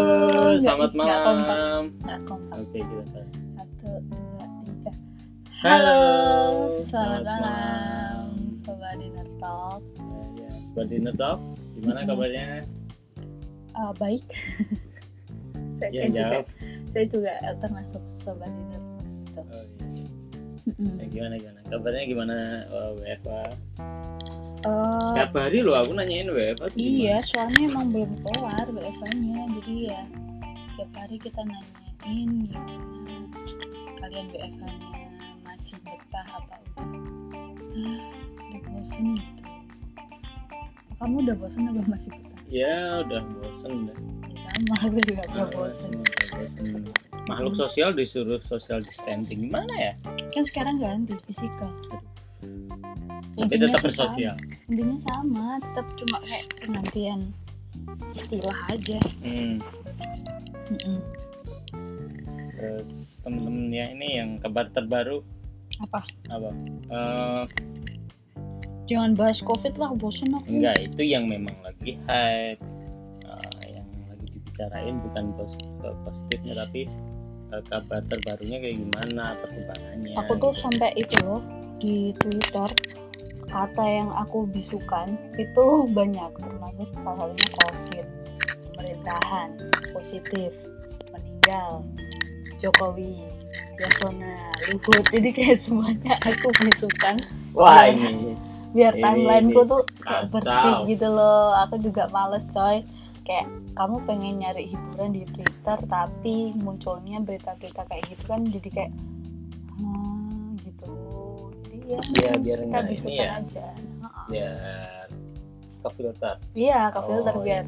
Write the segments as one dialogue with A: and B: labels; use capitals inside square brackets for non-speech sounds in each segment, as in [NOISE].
A: nggak- nggak
B: selamat
A: kompak.
B: malam.
A: Nggak kompak.
B: Oke, kita start.
A: Satu, dua, tiga.
B: Halo,
A: selamat
B: selamat
A: malam.
B: malam.
A: Sobat Dinner Talk.
B: Nah, ya, buat dinner talk, gimana
A: Mm-mm.
B: kabarnya?
A: Ah, baik. [LAUGHS] saya,
B: Ya,
A: saya juga,
B: jawab.
A: saya juga termasuk Sobat Dinner.
B: Oh, iya.
A: Mm-mm.
B: Ya, gimana gimana? Kabarnya gimana uh, WFA?
A: Eh,
B: Tiap hari loh aku nanyain WFA tuh
A: iya, soalnya emang belum kelar WFH-nya. Jadi ya, tiap hari kita nanyain gimana kalian WFH-nya masih betah apa udah ah, udah bosen gitu. Kamu udah bosen apa masih betah?
B: gimana? Ya udah bosen dah.
A: Ya, sama, aku juga udah
B: Ah,
A: bosen.
B: udah bosen. Makhluk sosial disuruh social distancing gimana ya?
A: Kan sekarang ganti fisikal.
B: Tapi
A: Intinya
B: tetap
A: sih
B: bersosial.
A: sama, Intinya sama, tetap cuma kayak penantian istilah aja.
B: Hmm.
A: Mm-mm.
B: Terus temen-temen ya ini yang kabar terbaru
A: Apa?
B: apa? Eh,
A: Jangan bahas covid lah, bosen aku.
B: enggak itu yang memang lagi hype Eh, yang lagi dibicarain bukan pos eh, positifnya tapi eh, kabar terbarunya kayak gimana perkembangannya gitu.
A: aku tuh sampai itu loh di Twitter kata yang aku bisukan itu [LAUGHS] banyak termasuk salah satunya COVID pemerintahan positif meninggal Jokowi Yasona Luhut jadi kayak semuanya aku bisukan
B: wah
A: Ya.
B: ini
A: biar
B: Ini-
A: timelineku tuh kayak
B: Iya, kacau.
A: bersih gitu loh aku juga males coy kayak kamu pengen nyari hiburan di Twitter tapi munculnya berita-berita kayak gitu kan jadi kayak hmm, gitu jadi ya,
B: Iya, biar
A: kita
B: nggak ini
A: bisukan
B: ya.
A: aja Heeh.
B: biar kefilter
A: iya kak filter
B: Oh,
A: biar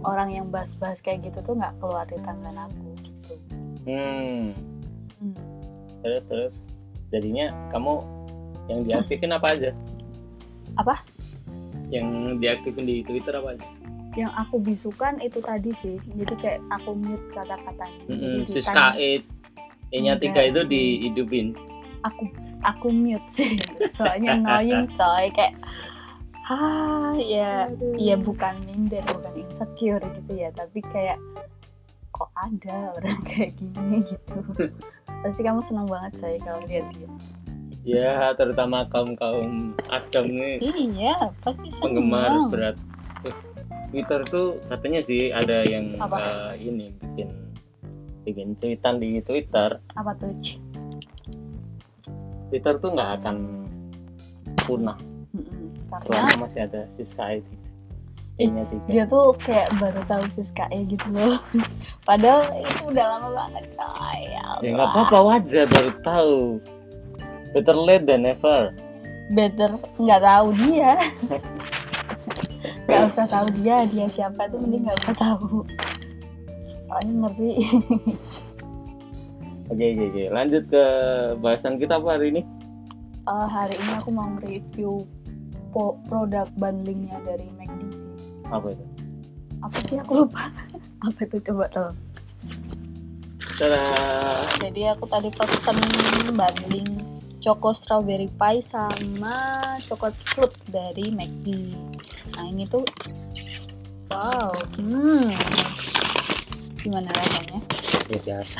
A: orang yang bahas-bahas kayak gitu tuh nggak keluar di tangan aku gitu
B: hmm
A: Hmm.
B: terus terus jadinya kamu yang diaktifin apa aja
A: Apa?
B: yang diaktifin di Twitter apa aja?
A: yang aku bisukan itu tadi sih jadi kayak aku mute kata-katanya Jadi
B: Mm-mm,
A: di time-
B: Siska Eid, Hmm, E-nya
A: Enggak
B: tiga itu
A: sih.
B: dihidupin.
A: aku aku mute sih [LAUGHS] soalnya annoying coy kayak ah ya ya bukan minder bukan insecure gitu ya tapi kayak kok ada orang [LAUGHS] kayak gini gitu pasti kamu seneng banget coy kalau lihat dia
B: Ya, terutama kaum kaum adam nih
A: iya pasti seneng
B: penggemar berat. Eh, Twitter tuh katanya sih ada yang
A: Apa?
B: eh, ini bikin bikin cuitan di Twitter.
A: apa tuh Ci?
B: Twitter tuh nggak akan punah
A: Mm-mm. karena
B: selama masih ada Siska Eid. E-nya tiga.
A: dia tuh kayak baru tahu Siska E gitu loh [LAUGHS] padahal itu udah lama banget coy ya
B: Ya
A: Allah.
B: nggak apa-apa wajar baru tahu. Better late than never.
A: better nggak tahu [LAUGHS] dia nggak usah tahu dia dia siapa itu mending nggak usah tahu soalnya ngeri [LAUGHS]
B: Oke oke oke. Lanjut ke bahasan kita apa hari ini?
A: Eh, hari ini aku mau review produk bundlingnya dari McD sih.
B: Apa itu?
A: apa sih aku lupa [LAUGHS] apa itu coba tolong
B: Cara
A: jadi aku tadi pesen bundling Choco Strawberry Pie sama Chocolate Fruit dari McD. Nah ini tuh, wow, hmm, gimana rasanya?
B: ya biasa.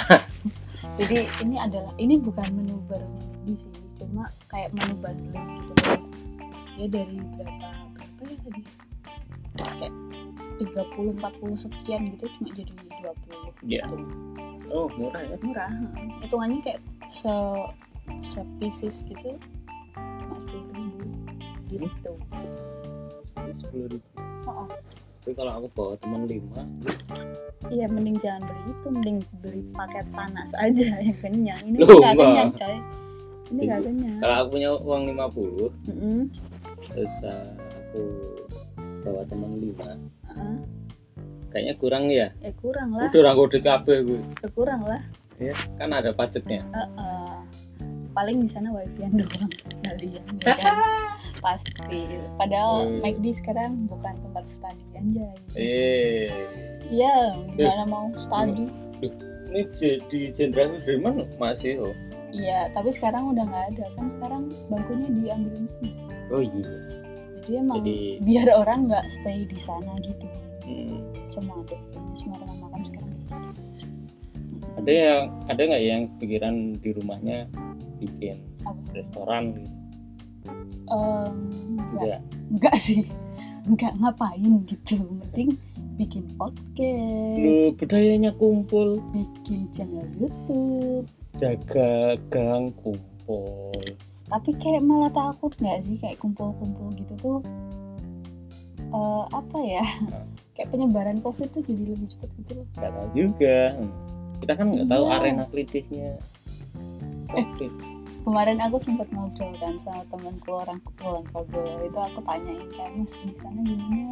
A: jadi ini adalah ini bukan menu barunya di sih cuma kayak menu bundling gitu loh. dia dari berapa berapa ya tadi kayak 30 40 sekian gitu cuma jadi 20
B: Iya.
A: gitu.
B: Oh murah ya.
A: murah heeh. hitungannya kayak se se pieces gitu cuma 10 ribu gitu
B: Sepuluh ribu.
A: Oh, oh.
B: Tapi kalau aku bawa teman lima,
A: iya mending jangan beli itu mending beli paket panas aja [LAUGHS] yang kenyang ini
B: Loh,
A: nggak
B: enggak.
A: kenyang coy ini nggak kenyang
B: kalau aku punya uang lima puluh,
A: Mm-mm.
B: terus uh, aku bawa teman lima,
A: Heeh.
B: kayaknya kurang ya.
A: ya kurang lah
B: Udah aku udah kabeh gue.
A: ya kurang lah
B: Ya, kan ada pajaknya.
A: Heeh. paling di sana wifi-an doang sekalian ya kan? pasti padahal
B: Hmm.
A: McD sekarang bukan tempat study anjay
B: Eh,
A: iya gimana mau study
B: ini j- di Jenderal Sudirman masih oh.
A: iya tapi sekarang udah nggak ada kan sekarang bangkunya diambilin semua
B: Oh iya.
A: jadi emang
B: Jadi-
A: biar orang nggak stay di sana gitu
B: Hmm.
A: semua ada semua rumah makan sekarang di sana.
B: ada yang ada nggak yang pikiran di rumahnya bikin
A: Apa?
B: restoran gitu
A: Em, enggak,
B: juga
A: enggak sih enggak ngapain gitu penting bikin podcast
B: lu budayanya kumpul
A: bikin channel YouTube
B: jaga gang kumpul
A: tapi kayak malah takut nggak sih kayak kumpul-kumpul gitu tuh eh, apa ya [LAUGHS]
B: Nah.
A: kayak penyebaran covid tuh jadi lebih cepet gitu loh
B: nggak tahu juga kita kan nggak tahu
A: Iya.
B: arena kritisnya oke
A: kemarin aku sempat ngobrol kan sama temanku orang kepulauan Progo itu aku tanyain kan mas di sana gimana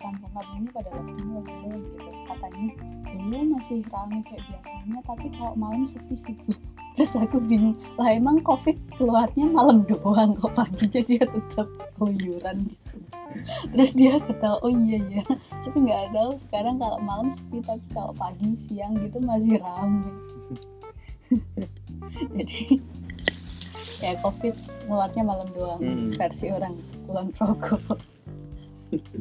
A: kampung-kampungnya pada waktunya belum gitu katanya dulu masih ramai kayak biasanya tapi kalau malam sepi sih [LAUGHS] Bu." terus aku bingung lah emang covid keluarnya malam doang kok [LAUGHS] paginya dia tetap keluyuran gitu terus dia ketawa oh iya [LAUGHS] ya tapi nggak tahu sekarang kalau malam sepi tapi kalau pagi siang gitu masih ramai [LAUGHS] jadi ya covid ngulatnya malam doang
B: Hmm.
A: versi orang bulan Progo [LAUGHS] gitu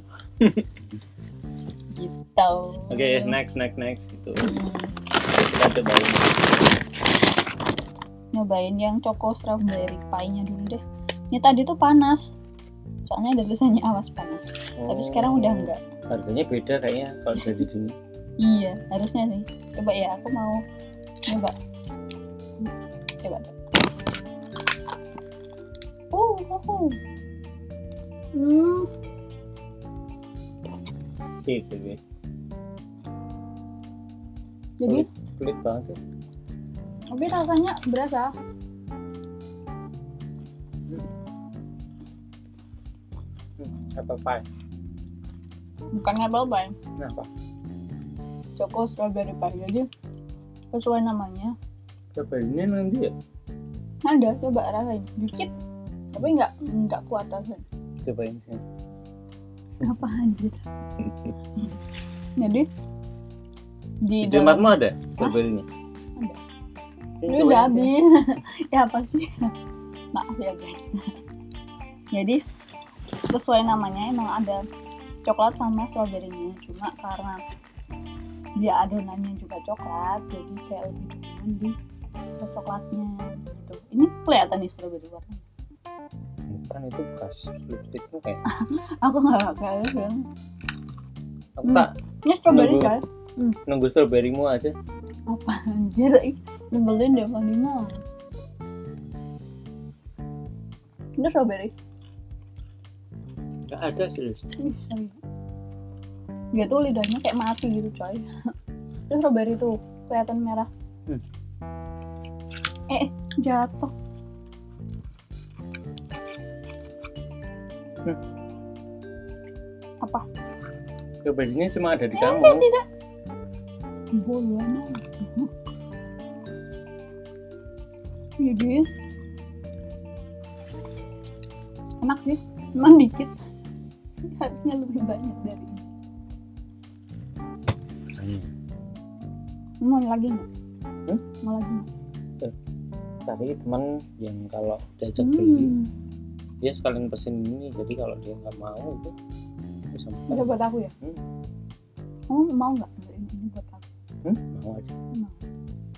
B: oke next next next gitu
A: Hmm.
B: kita coba ini.
A: nyobain yang coko strawberry pie-nya dulu deh. Ini tadi tuh panas. Soalnya ada tulisannya awas panas. Tapi
B: Oh.
A: sekarang udah enggak.
B: harganya beda kayaknya kalau dari sini
A: Iya, harusnya sih. Coba ya, aku mau coba. Coba. tuh. Oh, oh, oh. Hmm,
B: gitu ya
A: jadi
B: pelit banget ya.
A: tapi rasanya berasa.
B: Hmm, apa Nah, pie
A: Bukan apple pie,
B: kenapa
A: coko strawberry pie. Jadi sesuai namanya.
B: coba ini nanti ya
A: Ada, coba rasain dikit. Tapi nggak nggak kuat rasanya.
B: cobain sih
A: apa anjir jadi di
B: di
A: dalam-
B: tempatmu ada coba ini
A: Ada.
B: Ini
A: ini
B: cobain
A: udah
B: sih.
A: habis [LAUGHS] ya apa sih maaf ya guys jadi sesuai namanya emang ada coklat sama stroberinya cuma karena dia adonannya juga coklat jadi kayak lebih dominan di ke coklatnya gitu ini kelihatan nih stroberi warna
B: bukan itu bekas lipstikmu kayak
A: Ah, aku nggak pakai kan
B: aku
A: Hmm.
B: tak
A: ini stroberi
B: Nunggu.
A: kan
B: nunggu strawberrymu aja
A: apa anjir ih nyebelin deh Pak Dino ini strawberry
B: nggak ada serius
A: Ih, serius. dia tuh Iya. lidahnya kayak mati gitu coy [LAUGHS] itu strawberry tuh kelihatan merah
B: Hmm.
A: eh jatuh
B: Hmm.
A: apa
B: strawberrynya cuma ada
A: Eh,
B: di kamu
A: tidak bolongan jadi enak sih cuman dikit harusnya lebih banyak dari ini mau lagi nggak
B: Hmm?
A: mau lagi nggak
B: cari teman yang kalau diajak beli
A: hmm.
B: dia sekalian pesen ini jadi kalau dia nggak mau itu bisa makan.
A: bisa buat aku ya
B: Hmm.
A: kamu mau nggak beliin ini buat aku
B: Hmm, mau aja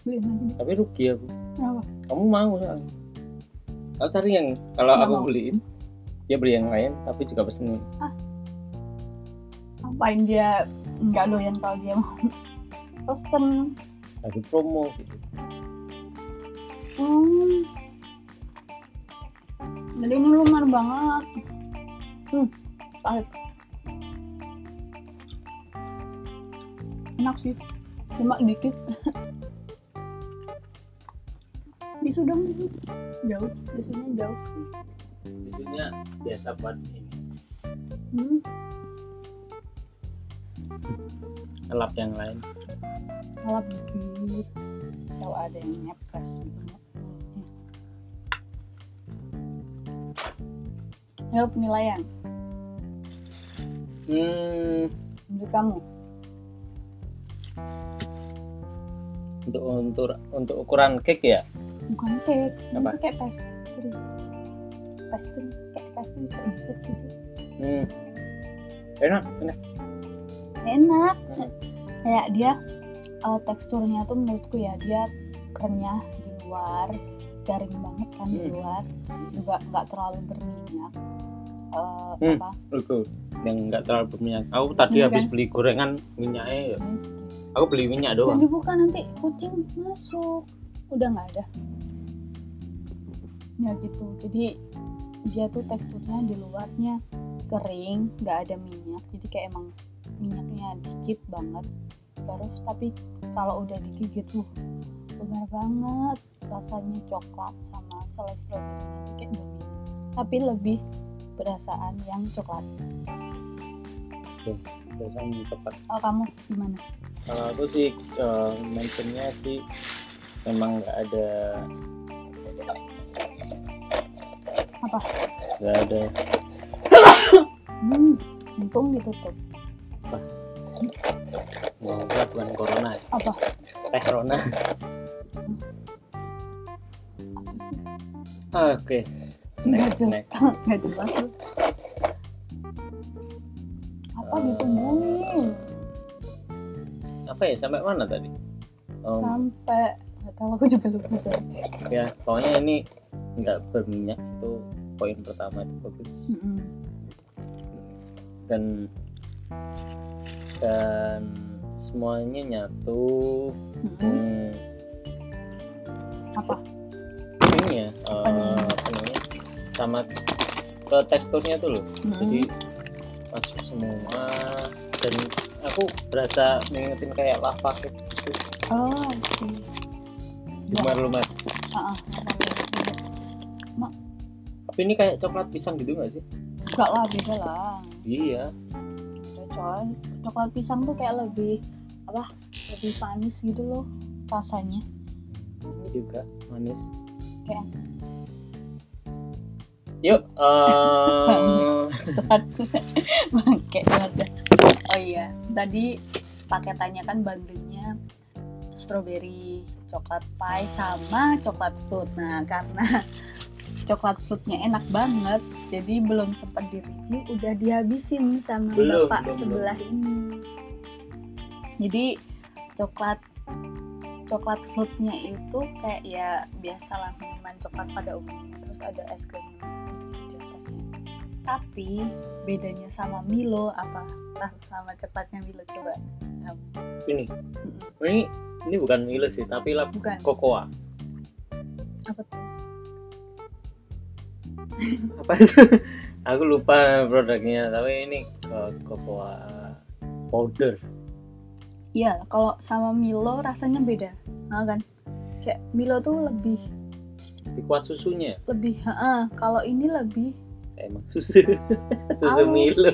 A: beliin lagi deh
B: tapi rugi aku
A: kenapa
B: kamu mau soalnya aku cari yang kalau
A: Nggak
B: aku
A: mau.
B: beliin dia beli yang lain tapi juga pesen ini
A: apain dia nggak doyan kalau dia mau pesen
B: lagi promo gitu
A: Hmm. Jadi ini lumer banget. Hmm. Pahit. Enak sih. Cuma dikit. [LAUGHS] Bisu dong bisu. Jauh. Bisunya jauh.
B: biasanya biasa buat ini
A: Hmm.
B: lap yang lain
A: Lap dikit. Kalau ada yang nyepres gitu. Ya penilaian
B: hmm
A: untuk kamu.
B: untuk untuk untuk ukuran cake ya
A: bukan cake
B: Apa?
A: itu kayak pastry pastry kayak pastry kayak dessert gitu
B: hmm enak enak
A: enak
B: Hmm.
A: kayak dia eh, teksturnya tuh menurutku ya dia kenyah di luar garing banget kan di
B: Hmm.
A: luar juga nggak terlalu berminyak Eh,
B: Hmm.
A: apa
B: Itu yang nggak terlalu berminyak. Aku tadi
A: Iya,
B: habis beli gorengan minyaknya, ya. aku beli minyak
A: dan [LAUGHS]
B: doang.
A: dibuka nanti kucing masuk udah nggak ada ya gitu jadi dia tuh teksturnya di luarnya kering nggak ada minyak jadi kayak emang minyaknya dikit banget terus tapi kalau udah digigit tuh benar banget rasanya coklat sama selai strawberry-nya dikit lebih tapi lebih perasaan yang coklat
B: Biasanya tepat
A: oh kamu gimana
B: kalau aku sih eh, mentionnya sih memang nggak ada
A: Apa?
B: nggak ada
A: hmm untung ditutup
B: ngobrol bukan corona ya.
A: Apa?
B: teh corona Ah, oke
A: nggak
B: next
A: jelas
B: next
A: nggak jelas lu. apa ditungguin
B: apa ya sampai mana tadi Em,
A: sampai nggak tahu aku juga lupa tuh
B: ya pokoknya ini nggak berminyak itu poin pertama itu bagus
A: Mm-mm.
B: dan dan semuanya nyatu
A: Mm-mm.
B: Hmm,
A: apa
B: ini ya eh, apa namanya sama ke teksturnya tuh loh jadi
A: Mm-mm. Hmm.
B: masuk semua dan aku berasa mengingetin kayak lava gitu
A: oh oke Ya,
B: lumer-lumer
A: ah, ah, apa-apa.
B: tapi ini kayak coklat pisang gitu nggak sih
A: nggak lah beda lah
B: iya
A: Beda, coy coklat pisang tuh kayak lebih apa lebih manis gitu loh rasanya [LAUGHS]
B: ini juga manis
A: Kayak.
B: yuk eh [LAUGHS]
A: Manis. Satu. bangke banget dah. oh iya tadi paketannya kan bandengnya strawberry coklat pie sama coklat fruit nah karena coklat fruitnya enak banget jadi belum sempat di review udah dihabisin sama
B: Belum,
A: bapak
B: belum,
A: sebelah ini jadi coklat coklat fruitnya itu kayak ya biasalah minuman coklat pada umumnya terus ada es krim di atasnya. tapi bedanya sama Milo apa rasa sama coklatnya Milo coba
B: ini
A: Mm-mm.
B: ini ini bukan Milo sih tapi lap
A: bukan
B: kokoa
A: apa tuh
B: apa itu [LAUGHS] aku lupa produknya tapi ini eh, kokoa powder
A: Iya, kalau sama Milo rasanya beda, nah, kan? Kayak Milo tuh lebih
B: dikuat susunya
A: lebih, heeh, kalau ini lebih
B: emang susu [LAUGHS] susu
A: Aus.
B: Milo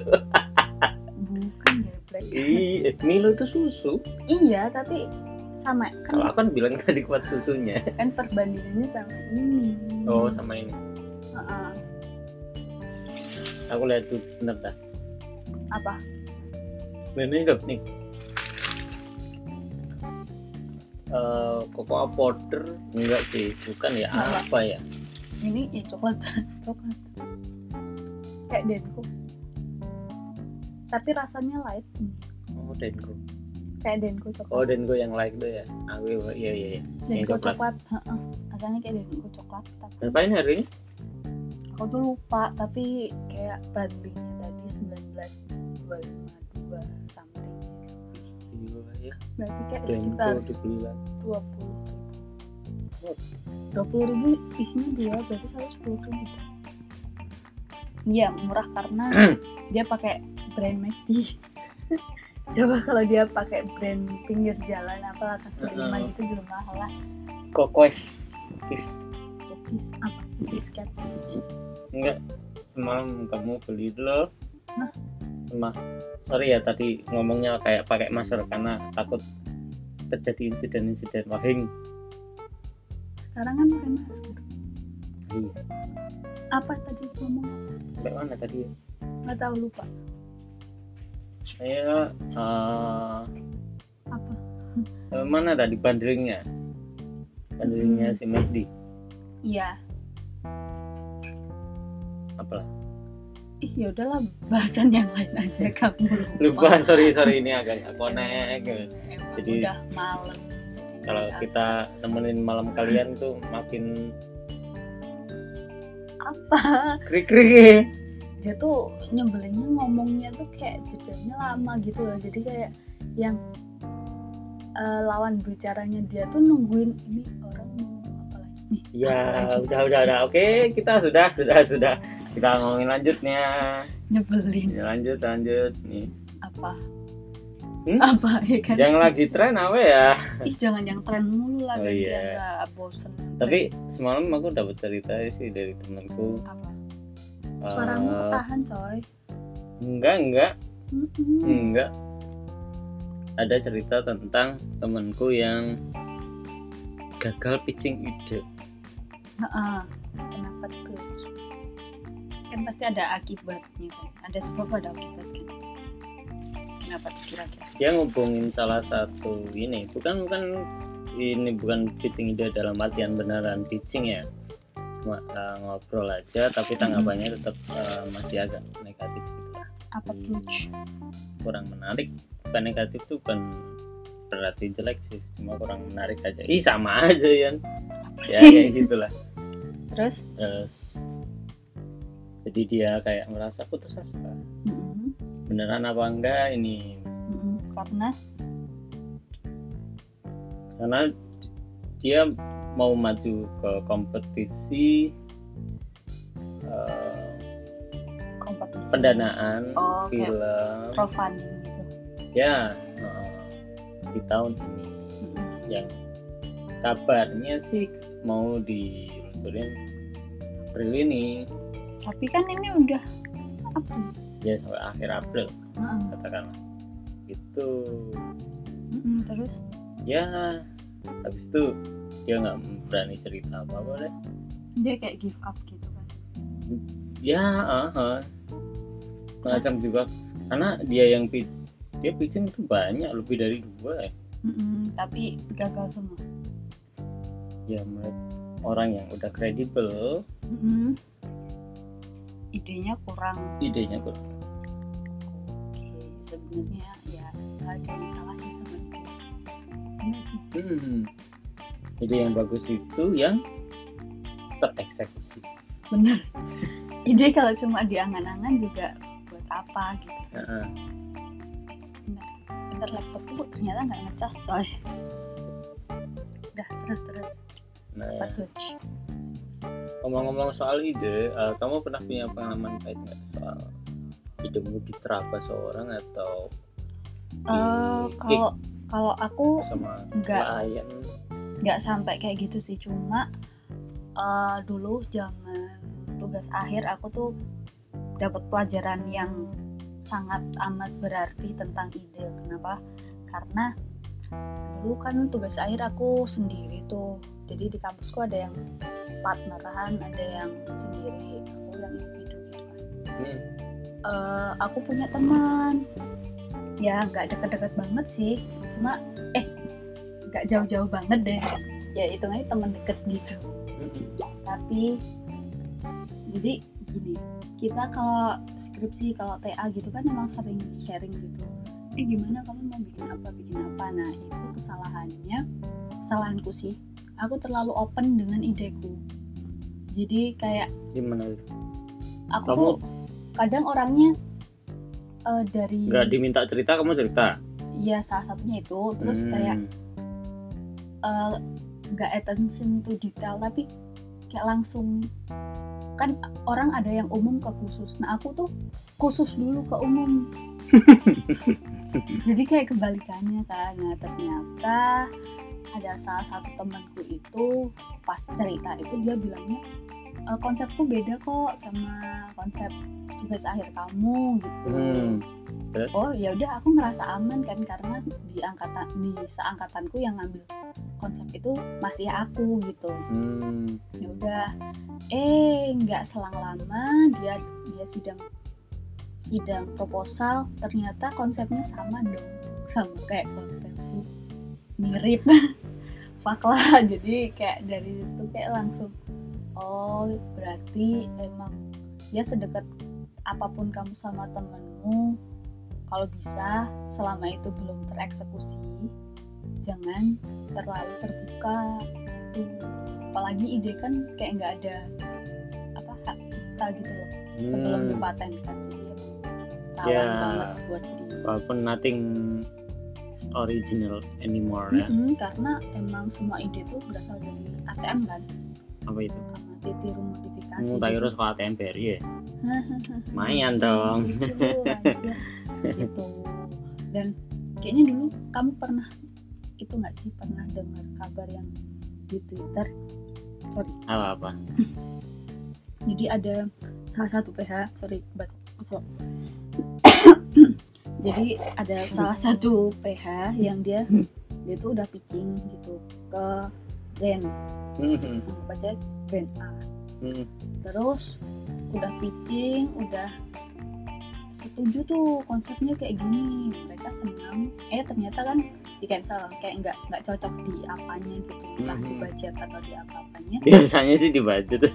A: bukan geblek.
B: Ih, eh, Milo itu susu.
A: Iya, tapi sama kan,
B: Kalau aku kan bilang tadi kuat susunya.
A: kan perbandingannya sama ini.
B: Oh, sama ini.
A: Heeh.
B: Aku lihat tuh bener dah.
A: Apa?
B: Ini loh, nih. Eh, cocoa powder enggak sih bukan ya
A: Enggak.
B: apa ya
A: Ini ya coklat, [LAUGHS] coklat. Kayak Denko. Tapi rasanya light,
B: oh denko
A: kayak Denko
B: oh
A: coklat.
B: denko yang like tuh ya aku iya iya iya
A: Denko
B: coklat.
A: coklat, heeh. Rasanya kayak Denko coklat, tapi
B: berapa ini hari ini
A: aku tuh lupa tapi kayak bandingnya tadi 19.252 something
B: Gila, ya
A: berarti kayak
B: denko
A: sekitar
B: dibeli lagi
A: 20 ribu 20 ribu isinya dua berarti 110 ribu iya murah karena dia pakai brand McD [LAUGHS] coba kalau dia pakai brand pinggir jalan apa kaki lima
B: Mm-mm.
A: gitu juga mahal lah
B: kokoes
A: cookies apa biscuit
B: enggak semalam kamu beli dulu
A: Hah?
B: Emang sorry ya tadi ngomongnya kayak pakai masker karena takut terjadi insiden-insiden wahing
A: sekarang kan pakai masker
B: iya
A: apa tadi ngomong
B: sampai mana tadi ya
A: nggak tahu lupa
B: saya eh,
A: apa
B: sampai mana tadi bandelingnya bandelingnya si Mehdi
A: iya
B: apalah
A: ih ya udahlah bahasan yang lain aja kamu
B: lupa sorry sorry ini agak nggak connect
A: Emang
B: Jadi,
A: udah malam
B: kalau
A: Ya,
B: kita nemenin malam kalian tuh makin
A: apa
B: krik krik
A: dia tuh nyebelinnya ngomongnya tuh kayak jedanya lama gitu loh jadi kayak yang eh, lawan bicaranya dia tuh nungguin ini orang mau ngomong apa lagi nih
B: ya udah udah udah oke kita sudah sudah sudah kita ngomongin lanjutnya
A: nyebelin
B: Ya, lanjut lanjut nih
A: apa
B: Hmm?
A: apa [LAUGHS] ya kan
B: yang lagi tren apa ya
A: ih jangan yang tren mulu lah kan,
B: Oh,
A: biar
B: iya.
A: dia nggak bosen
B: tapi semalam aku dapat cerita sih dari temanku
A: apa
B: Eh,
A: suaramu ketahan coy
B: enggak enggak
A: Mm-mm.
B: enggak ada cerita tentang temanku yang gagal pitching ide
A: Ha-ha. kenapa tuh kan pasti ada akibatnya kan ada sebab ada akibat kan kenapa tuh kira-kira
B: dia ngubungin salah satu ini bukan bukan ini bukan pitching ide dalam artian beneran pitching ya cuma eh, ngobrol aja tapi tanggapannya tetap eh, masih agak negatif gitu
A: apa tuh
B: kurang menarik bukan negatif tuh bukan berarti jelek sih cuma kurang menarik aja ih sama aja Yan. ya
A: sih?
B: ya gitulah
A: terus
B: terus jadi dia kayak merasa putus asa
A: Mm-mm.
B: beneran apa enggak ini
A: Mm-mm. Mm-hmm, karena
B: karena dia mau maju ke kompetisi eh,
A: kompetisi
B: pendanaan
A: Oh, kayak
B: film
A: crowdfunding gitu
B: ya eh, di tahun ini
A: Mm-mm.
B: yang kabarnya sih mau diluncurin April ini
A: tapi kan ini udah apa
B: ya sampai akhir April
A: Ha-ha.
B: katakanlah itu
A: Mm-mm. mm-hmm. terus
B: ya habis itu dia nggak berani cerita apa apa deh
A: dia kayak give up gitu kan
B: ya ah, ah. macam juga karena dia yang pi- dia pitching itu banyak lebih dari dua ya.
A: Mm-mm. Mm-hmm. tapi gagal semua
B: ya menurut orang yang udah kredibel
A: Mm-mm. Mm-hmm. idenya kurang
B: idenya kurang
A: oke sebenarnya ya nggak ada yang salahnya sama itu Bener sih.
B: hmm. ide yang bagus itu yang tereksekusi
A: bener ide kalau cuma diangan-angan juga buat apa gitu Nah,
B: Heeh.
A: bentar laptopku kok ternyata nggak ngecas coy udah terus terus
B: nah
A: apa tuh Ci?
B: ngomong-ngomong soal ide eh, kamu pernah punya pengalaman pahit nggak soal idemu diterabas seorang atau
A: Eh,
B: di-
A: kalau kalau aku
B: sama
A: Nggak.
B: klien
A: nggak sampai kayak gitu sih cuma eh, dulu jangan tugas akhir aku tuh dapat pelajaran yang sangat amat berarti tentang ide kenapa karena dulu kan tugas akhir aku sendiri tuh jadi di kampusku ada yang partneran ada yang sendiri aku yang individu gitu kan
B: Hmm.
A: Eh, aku punya teman ya nggak deket-deket banget sih cuma eh nggak jauh-jauh banget deh ya hitungannya teman deket gitu
B: hmm.
A: tapi jadi gini kita kalau skripsi kalau TA gitu kan emang sering sharing gitu eh gimana kamu mau bikin apa bikin apa nah itu kesalahannya kesalahanku sih aku terlalu open dengan ideku jadi kayak
B: gimana itu?
A: aku
B: Kamu-
A: tuh kadang orangnya eh, dari
B: nggak diminta cerita kamu cerita
A: ya salah satunya itu terus
B: Hmm.
A: kayak eh, nggak attention to detail tapi kayak langsung kan orang ada yang umum ke khusus nah aku tuh khusus dulu ke umum jadi kayak kebalikannya kan nah ternyata ada salah satu temanku itu pas cerita itu dia bilangnya "E, konsepku beda kok sama konsep tugas akhir kamu gitu
B: Hmm.
A: oh ya udah aku ngerasa aman kan karena di angkatan di seangkatanku yang ngambil konsep itu masih aku gitu
B: Hmm.
A: ya udah eh nggak selang lama dia dia sidang sidang proposal ternyata konsepnya sama dong sama kayak konsepku mirip [LAUGHS] fuck lah jadi kayak dari itu kayak langsung oh berarti emang dia sedekat apapun kamu sama temenmu kalau bisa selama itu belum tereksekusi jangan terlalu terbuka gitu. apalagi ide kan kayak nggak ada apa hak kita gitu loh sebelum
B: Hmm,
A: dipatenkan jadi rawan
B: Ya.
A: banget buat di
B: hmm. walaupun nothing is original anymore ya
A: Mm-mm, karena emang semua ide itu berasal dari ATM kan
B: apa itu
A: sama tiru modifikasi
B: mau tak urus ke ATM BRI ya
A: Hahaha.
B: lumayan dong
A: gitu, aja. gitu dan kayaknya dulu kamu pernah itu nggak sih pernah dengar kabar yang di Twitter
B: apa apa
A: [LAUGHS] jadi ada salah satu PH sorry batuk Masuk. [COUGHS] jadi ada salah satu PH yang dia dia tuh udah pitching gitu ke brand
B: Hmm,
A: baca brand A
B: hmm,
A: terus udah pitching udah setuju tuh konsepnya kayak gini mereka senang eh ternyata kan di cancel kayak nggak nggak cocok di apanya gitu entah di
B: Mhm.
A: budget atau di apa-apanya
B: [LAUGHS] biasanya sih dibaca tuh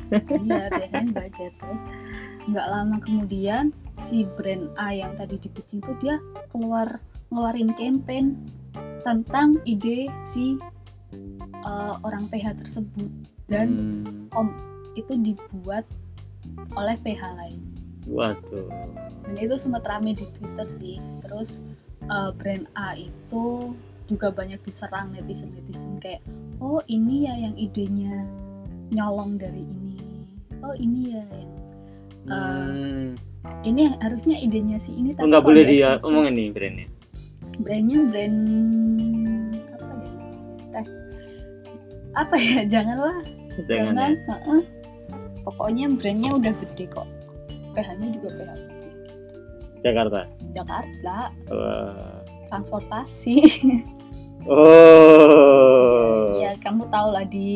A: iya biasanya di budget terus nggak lama kemudian si brand A yang tadi di pitching tuh dia keluar ngeluarin campaign tentang ide si eh, orang PH tersebut dan
B: Hmm,
A: itu dibuat oleh PH lain
B: waduh
A: dan itu sempat rame di Twitter sih terus eh, brand A itu juga banyak diserang netizen netizen kayak oh ini ya yang idenya nyolong dari ini oh ini ya yang
B: hmm.
A: ini harusnya idenya si ini
B: Oh, nggak
A: kok
B: boleh
A: ada
B: dia
A: si-
B: omongin nih ya. brandnya
A: brandnya brand apa ya teh apa ya [LAUGHS] janganlah
B: jangan ya
A: jangan heeh. pokoknya brandnya udah gede kok PH-nya juga PH gede.
B: Jakarta Eh,
A: Jakarta
B: Wah. [LAUGHS]
A: transportasi [LAUGHS]
B: oh
A: ya kamu tahu lah di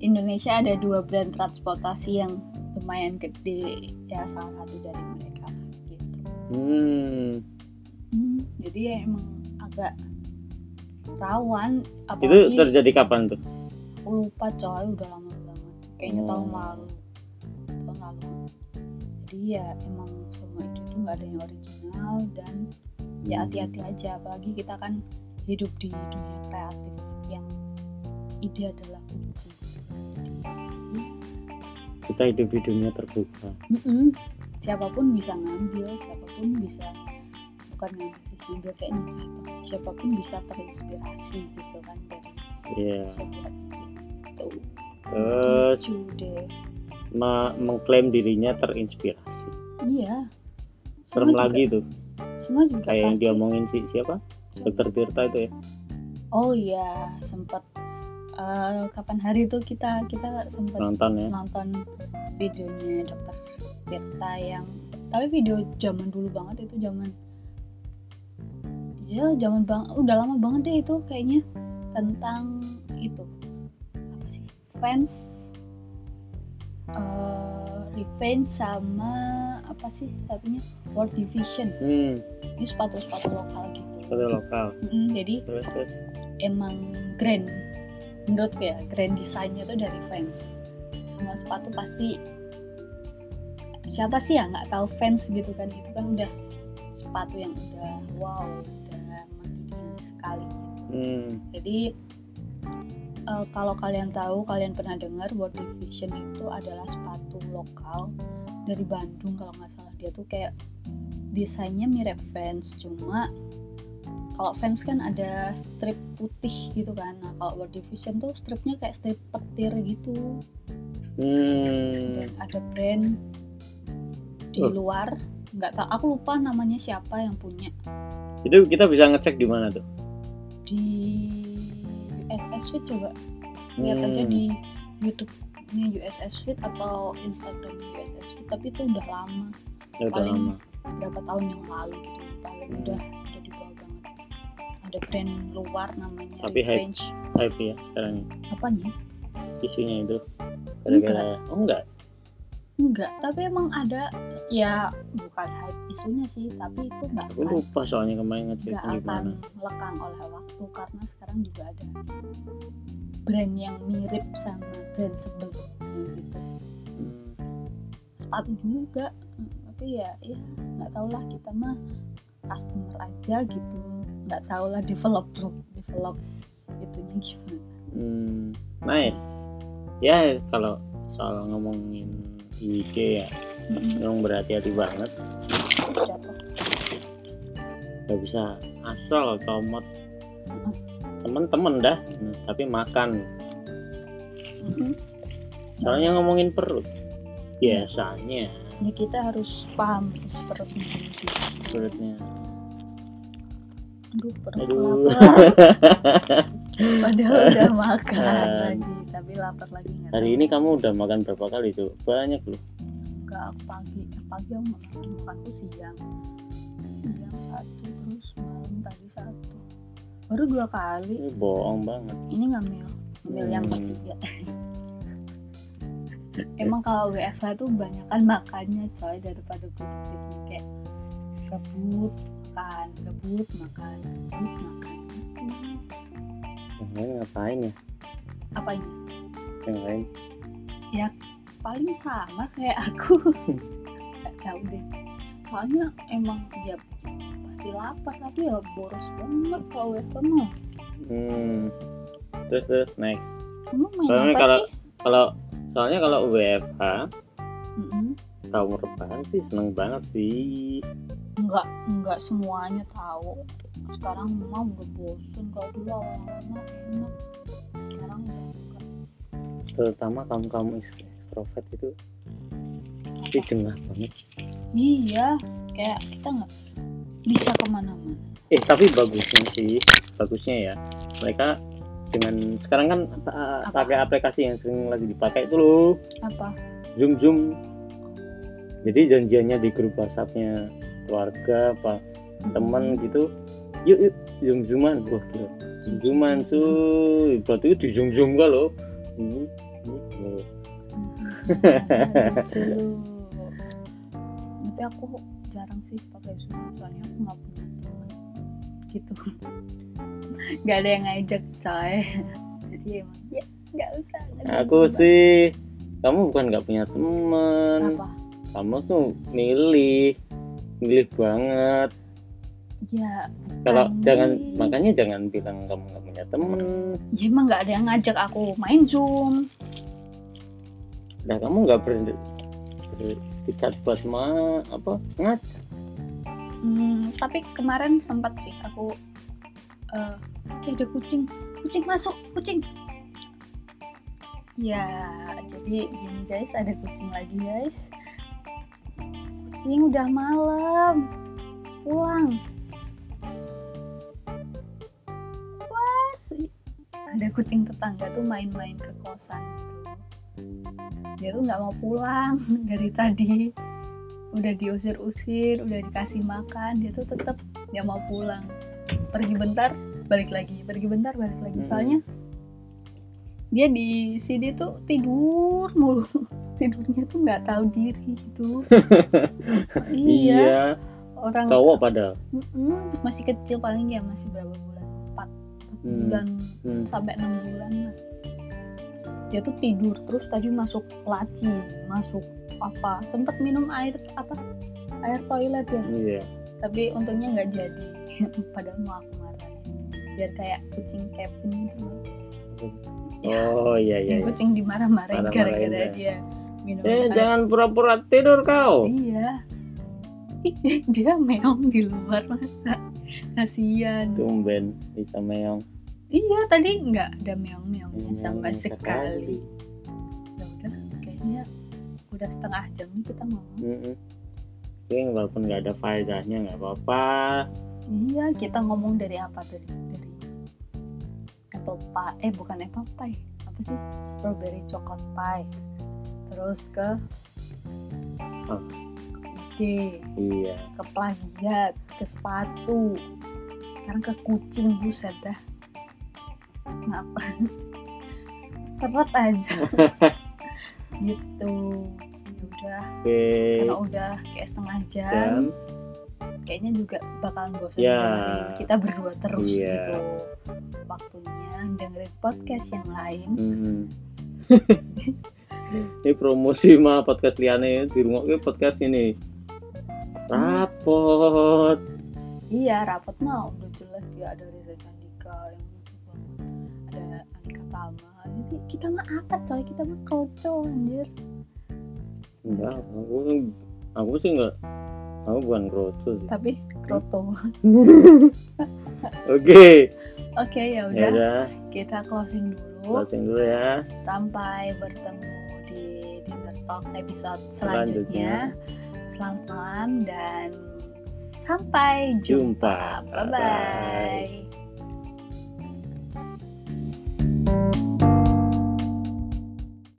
A: Indonesia ada dua brand transportasi yang lumayan gede ya salah satu dari mereka gitu
B: Hmm,
A: Hmm, jadi ya emang agak rawan
B: itu
A: apalagi
B: terjadi kapan tuh?
A: aku lupa coy udah lama banget kayaknya
B: Hmm.
A: tahun lalu tahun lalu jadi ya emang semua itu tuh nggak ada yang original dan
B: Hmm.
A: ya hati-hati aja apalagi kita kan hidup di dunia kreatif yang ide adalah kunci
B: Kita hidup di dunia terbuka.
A: Mm-mm. siapapun bisa ngambil siapapun bisa bukan ngambil sih, ngambil kayak ngecat. siapapun bisa terinspirasi gitu kan dari
B: Iya.
A: sebuah ide gitu
B: Terus
A: lucu deh
B: me- mengklaim dirinya terinspirasi.
A: iya
B: Serem
A: Semua
B: lagi tuh,
A: juga- Hmm. semua juga
B: kayak yang
A: pasti.
B: diomongin si siapa? Dokter Tirta itu ya.
A: oh iya sempat eh, kapan hari itu kita kita sempat
B: Nonton ya.
A: nonton videonya dokter Tirta yang tapi video zaman dulu banget itu zaman ya zaman bang udah lama banget deh itu kayaknya tentang itu apa sih fans eh, revenge sama apa sih satunya world division
B: Hmm,
A: ini sepatu sepatu lokal gitu
B: kota lokal.
A: Mm, jadi
B: Terus terus.
A: emang grand menurutku ya grand desainnya tuh dari fans semua sepatu pasti siapa sih yang nggak tahu fans gitu kan itu kan udah sepatu yang udah wow udah mendunia sekali
B: Hmm,
A: jadi eh, kalau kalian tahu kalian pernah dengar World Division itu adalah sepatu lokal dari Bandung kalau nggak salah dia tuh kayak desainnya mirip Vans cuma kalau Vans kan ada strip putih gitu kan nah kalau World Division tuh stripnya kayak strip petir gitu
B: hmm.
A: dan ada brand di
B: Oh.
A: luar nggak tahu aku lupa namanya siapa yang punya
B: Itu kita bisa ngecek di mana tuh?
A: di SSW coba lihat aja
B: Hmm.
A: di YouTube-nya USS Fit atau Instagram USS Fit tapi itu udah lama
B: Ya, udah
A: paling-
B: lama.
A: berapa tahun yang lalu gitu paling
B: Hmm.
A: udah udah di bawah banget ada brand luar namanya
B: Tapi hype.
A: Revenge
B: Hype ya sekarang
A: apanya
B: isunya itu. Gara-gara oh enggak.
A: enggak tapi emang ada ya bukan hype isunya sih tapi itu enggak
B: Aku
A: akan
B: lupa soalnya kemarin ngecek
A: nggak
B: di
A: akan
B: mana.
A: lekang oleh waktu karena sekarang juga ada brand yang mirip sama brand sebelumnya gitu
B: Hmm.
A: sepatu juga mm, tapi ya ya nggak tau lah kita mah customer aja gitu nggak tau lah develop develop itunya gimana
B: Hmm, nice. Ya kalau soal ngomongin IG ya,
A: Mm-mm.
B: memang berhati-hati banget.
A: Siapa?
B: Gak bisa asal komot temen-temen dah. Hmm, Tapi makan.
A: Mm-mm.
B: Soalnya ngomongin perut. Biasanya
A: ya kita harus paham isi perut ini sih.
B: perutnya.
A: aduh perut
B: Aduh.
A: lapar padahal
B: [LAUGHS]
A: udah makan
B: Dan-
A: lagi tapi lapar lagi nggak
B: Ah. Hari ini kamu udah makan berapa kali tuh? Banyak loh.
A: nggak pagi eh, pagi aku nggak makan makanku siang siang satu terus malam tadi satu baru dua kali
B: Ini bohong banget.
A: ini ngambil ngambil yang
B: Hmm.
A: ketiga emang kalau WFH tuh banyakan makannya coy daripada produktifnya kayak gabut makan gabut makan gabut makan
B: Yang lain ngapain ya?
A: apa ini
B: Yang lain
A: paling sama kayak aku nggak tahu deh soalnya emang dia pasti lapar tapi ya boros banget kalau itu mah
B: Hmm. Terus terus next.
A: kamu main
B: Soalnya
A: apa
B: kalau-
A: sih
B: Kalau soalnya kalau WFH
A: Mm-mm.
B: kamu rebahan sih seneng banget sih.
A: nggak nggak semuanya tahu sekarang mah udah bosen kalau dulu awalnya enak sekarang udah enggak.
B: Terutama kamu kamu ekstrovert itu pasti jengah banget.
A: iya kayak kita nggak bisa kemana-mana
B: Eh tapi bagusnya sih, bagusnya ya. Mereka dengan sekarang kan uh,
A: Apa?
B: pakai aplikasi yang sering lagi dipakai itu loh,
A: apa
B: Zoom Zoom. Jadi janjiannya di grup WhatsAppnya keluarga apa teman gitu yuk yuk zoom zooman wah gila zoom zooman cuy berarti di zoom zoom gak lo Hmm, hmm, hmm.
A: Aduh. Iya, gitu. tapi aku jarang sih pakai Zoom soalnya aku nggak punya teman gitu nggak ada yang ngajak coy jadi emang ya nggak usah nggak
B: aku
A: usah.
B: sih kamu bukan nggak punya temen
A: apa
B: kamu tuh milih milih banget
A: ya
B: kalau
A: Bukan.
B: jangan makanya jangan bilang kamu nggak punya temen
A: ya emang nggak ada yang ngajak aku main Zoom
B: nah kamu nggak ber- bertikat buat ma apa ngajak
A: Hmm, tapi kemarin sempat sih aku eh eh, ada kucing kucing masuk kucing ya jadi gini guys ada kucing lagi guys kucing udah malam pulang wah si- ada kucing tetangga tuh main-main ke kosan gitu dia tuh nggak mau pulang [LAUGHS] dari tadi udah diusir-usir, udah dikasih makan, dia tuh tetap dia mau pulang. Pergi bentar, balik lagi, pergi bentar, balik lagi.
B: Mm-mm.
A: Soalnya dia di sini tuh tidur mulu. Tidurnya tuh nggak tahu diri
B: [LAUGHS]
A: gitu. iya, orang
B: ya, cowok padahal
A: Mm-mm, masih kecil paling ya masih berapa bulan? 4
B: Hmm.
A: bulan
B: Hmm.
A: sampai 6 bulan lah. Dia tuh tidur terus tadi masuk laci, masuk apa? Sempet minum air apa? Air toilet ya
B: iya
A: tapi untungnya nggak jadi [LAUGHS] padahal mau aku marah biar kayak kucing Kevin gitu
B: oh iya iya,
A: Yang
B: iya.
A: kucing dimarah-marahin
B: Marah-marahin
A: gara-gara
B: ya.
A: dia minum
B: Eh,
A: air.
B: jangan pura-pura tidur kau.
A: iya [LAUGHS] dia meong di luar masa kasian
B: Tumben bisa meong. Hmm,
A: iya tadi nggak ada meong-meongnya
B: Meong
A: sama Iya, sekali ya udah kayaknya udah setengah jam nih kita ngomong
B: Mm-mm. Tapi Hmm, walaupun nggak ada faedahnya nggak apa-apa.
A: iya kita ngomong dari apa tadi dari apple pie eh bukan apple pie apa sih strawberry chocolate pie terus ke
B: Oh.
A: ke
B: Iya.
A: ke plagiat ke sepatu sekarang ke kucing buset dah kenapa [LAUGHS] seret
B: [LAUGHS]
A: aja gitu Ya udah
B: Oke.
A: karena udah kayak setengah jam
B: Dan
A: kayaknya juga bakalan bosan
B: Ya.
A: dengerin kita berdua terus
B: Iya.
A: gitu waktunya dengerin podcast yang lain
B: mm. [LAUGHS] ini promosi mah podcast liane di rumah podcast ini. rapot
A: Iya, rapat mah udah jelas ya ada Reza Candika yang lucu banget. Ada Anika Tama. Jadi kita mah apa coy? Kita mah koco anjir.
B: enggak aku aku sih enggak aku bukan kroco
A: [LAUGHS]
B: sih
A: Tapi kroto. Oke,
B: oke
A: ya
B: ya
A: udah.
B: udah
A: Kita closing dulu.
B: closing dulu ya
A: Sampai bertemu di Dinner Talk episode
B: Selanjutnya.
A: selanjutnya. Selamat malam dan sampai jumpa.
B: jumpa
A: Bye bye.